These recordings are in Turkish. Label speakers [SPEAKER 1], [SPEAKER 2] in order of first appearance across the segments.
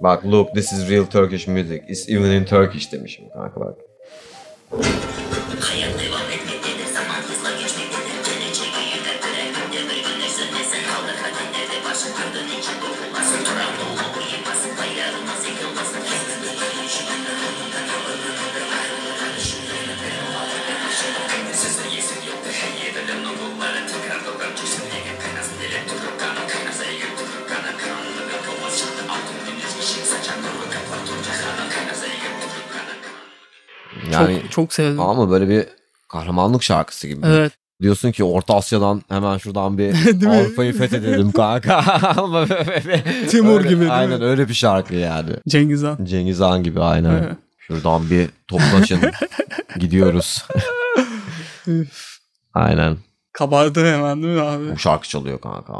[SPEAKER 1] Bak look this is real Turkish music. It's even in Turkish demişim kanka bak. Yani
[SPEAKER 2] çok çok sevdim.
[SPEAKER 1] ama böyle bir kahramanlık şarkısı gibi.
[SPEAKER 2] Evet.
[SPEAKER 1] Diyorsun ki Orta Asya'dan hemen şuradan bir
[SPEAKER 2] Değil mi?
[SPEAKER 1] Avrupa'yı fethedelim kanka. Ama
[SPEAKER 2] Timur
[SPEAKER 1] öyle-
[SPEAKER 2] gibi, değil
[SPEAKER 1] Aynen
[SPEAKER 2] mi?
[SPEAKER 1] öyle bir şarkı yani.
[SPEAKER 2] Cengiz Han.
[SPEAKER 1] Cengiz Han gibi aynen.
[SPEAKER 2] Evet.
[SPEAKER 1] Şuradan bir toplaşın. Gidiyoruz.
[SPEAKER 2] Üf.
[SPEAKER 1] Aynen.
[SPEAKER 2] Kabardı hemen değil mi abi?
[SPEAKER 1] Bu şarkı çalıyor kanka.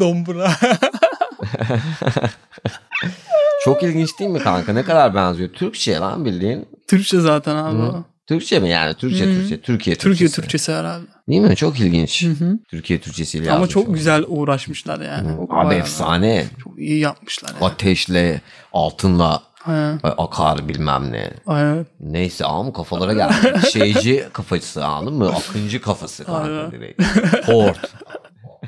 [SPEAKER 2] Dombra.
[SPEAKER 1] Çok ilginç değil mi kanka? Ne kadar benziyor. Türkçe lan bildiğin.
[SPEAKER 2] Türkçe zaten abi.
[SPEAKER 1] Hı.
[SPEAKER 2] o.
[SPEAKER 1] Türkçe mi yani? Türkçe,
[SPEAKER 2] Hı hı.
[SPEAKER 1] Türkçe. Türkiye
[SPEAKER 2] Türkiye
[SPEAKER 1] Türkçesi.
[SPEAKER 2] Türkçesi herhalde.
[SPEAKER 1] Değil mi? Çok ilginç.
[SPEAKER 2] Hı hı.
[SPEAKER 1] Türkiye Türkçesiyle
[SPEAKER 2] Ama
[SPEAKER 1] yazmış
[SPEAKER 2] çok
[SPEAKER 1] onu.
[SPEAKER 2] güzel uğraşmışlar yani.
[SPEAKER 1] Hı.
[SPEAKER 2] O
[SPEAKER 1] Abi
[SPEAKER 2] bayağı-
[SPEAKER 1] efsane.
[SPEAKER 2] Çok iyi yapmışlar yani.
[SPEAKER 1] Ateşle, altınla e,
[SPEAKER 2] Ha,
[SPEAKER 1] akar bilmem ne.
[SPEAKER 2] aynen.
[SPEAKER 1] Neyse ama kafalara geldi. Şeyci kafası anladın mı? Akıncı kafası kanka
[SPEAKER 2] Aynen.
[SPEAKER 1] direkt. Hort.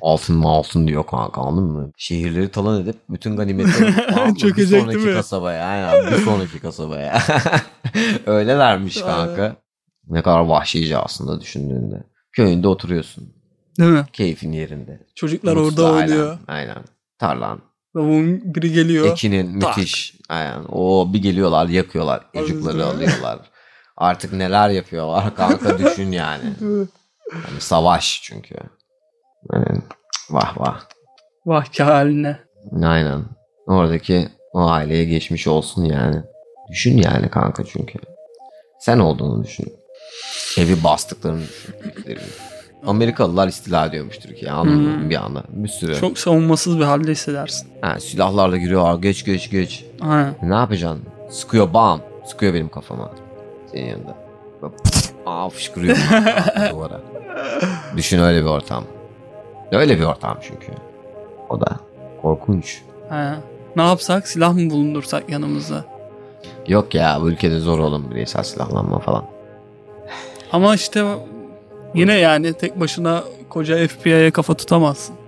[SPEAKER 1] Altın mı altın diyor kanka anladın mı? Şehirleri talan edip bütün ganimetleri tamam mı? bir
[SPEAKER 2] Çökecek değil
[SPEAKER 1] sonraki
[SPEAKER 2] mi?
[SPEAKER 1] kasabaya. Aynen bir sonraki kasabaya. Öyle vermiş kanka. Ne kadar vahşice aslında düşündüğünde. Köyünde oturuyorsun.
[SPEAKER 2] Değil mi?
[SPEAKER 1] Keyfin yerinde.
[SPEAKER 2] Çocuklar
[SPEAKER 1] Mutsuz
[SPEAKER 2] orada
[SPEAKER 1] ailen,
[SPEAKER 2] oynuyor.
[SPEAKER 1] Aynen. Tarlan.
[SPEAKER 2] Tavuğun biri geliyor.
[SPEAKER 1] Ekinin
[SPEAKER 2] Tak.
[SPEAKER 1] müthiş. Aynen. O bir geliyorlar yakıyorlar.
[SPEAKER 2] Tabii
[SPEAKER 1] Çocukları
[SPEAKER 2] canım.
[SPEAKER 1] alıyorlar. Artık neler yapıyorlar kanka düşün yani.
[SPEAKER 2] Değil mi?
[SPEAKER 1] Yani savaş çünkü. Aynen. Vah vah.
[SPEAKER 2] Vah ki haline.
[SPEAKER 1] Aynen. Oradaki o aileye geçmiş olsun yani. Düşün yani kanka çünkü. Sen olduğunu düşün. Evi bastıklarını düşün. Amerikalılar istila ediyormuş Türkiye anladın mı?
[SPEAKER 2] Hmm.
[SPEAKER 1] bir anda. Bir sürü.
[SPEAKER 2] Çok savunmasız bir halde hissedersin.
[SPEAKER 1] Ha, silahlarla giriyorlar. Geç geç geç.
[SPEAKER 2] Aynen.
[SPEAKER 1] Ne yapacaksın? Sıkıyor bam. Sıkıyor benim kafama. Senin yanında. Böyle pf, Aa fışkırıyor bana duvara. Düşün öyle bir ortam. Öyle bir ortam çünkü. O da korkunç.
[SPEAKER 2] Aynen. Ne yapsak silah mı bulundursak yanımızda?
[SPEAKER 1] Yok ya bu ülkede zor oğlum bireysel silahlanma falan.
[SPEAKER 2] Ama işte yine yani tek başına koca FBI'ye kafa tutamazsın.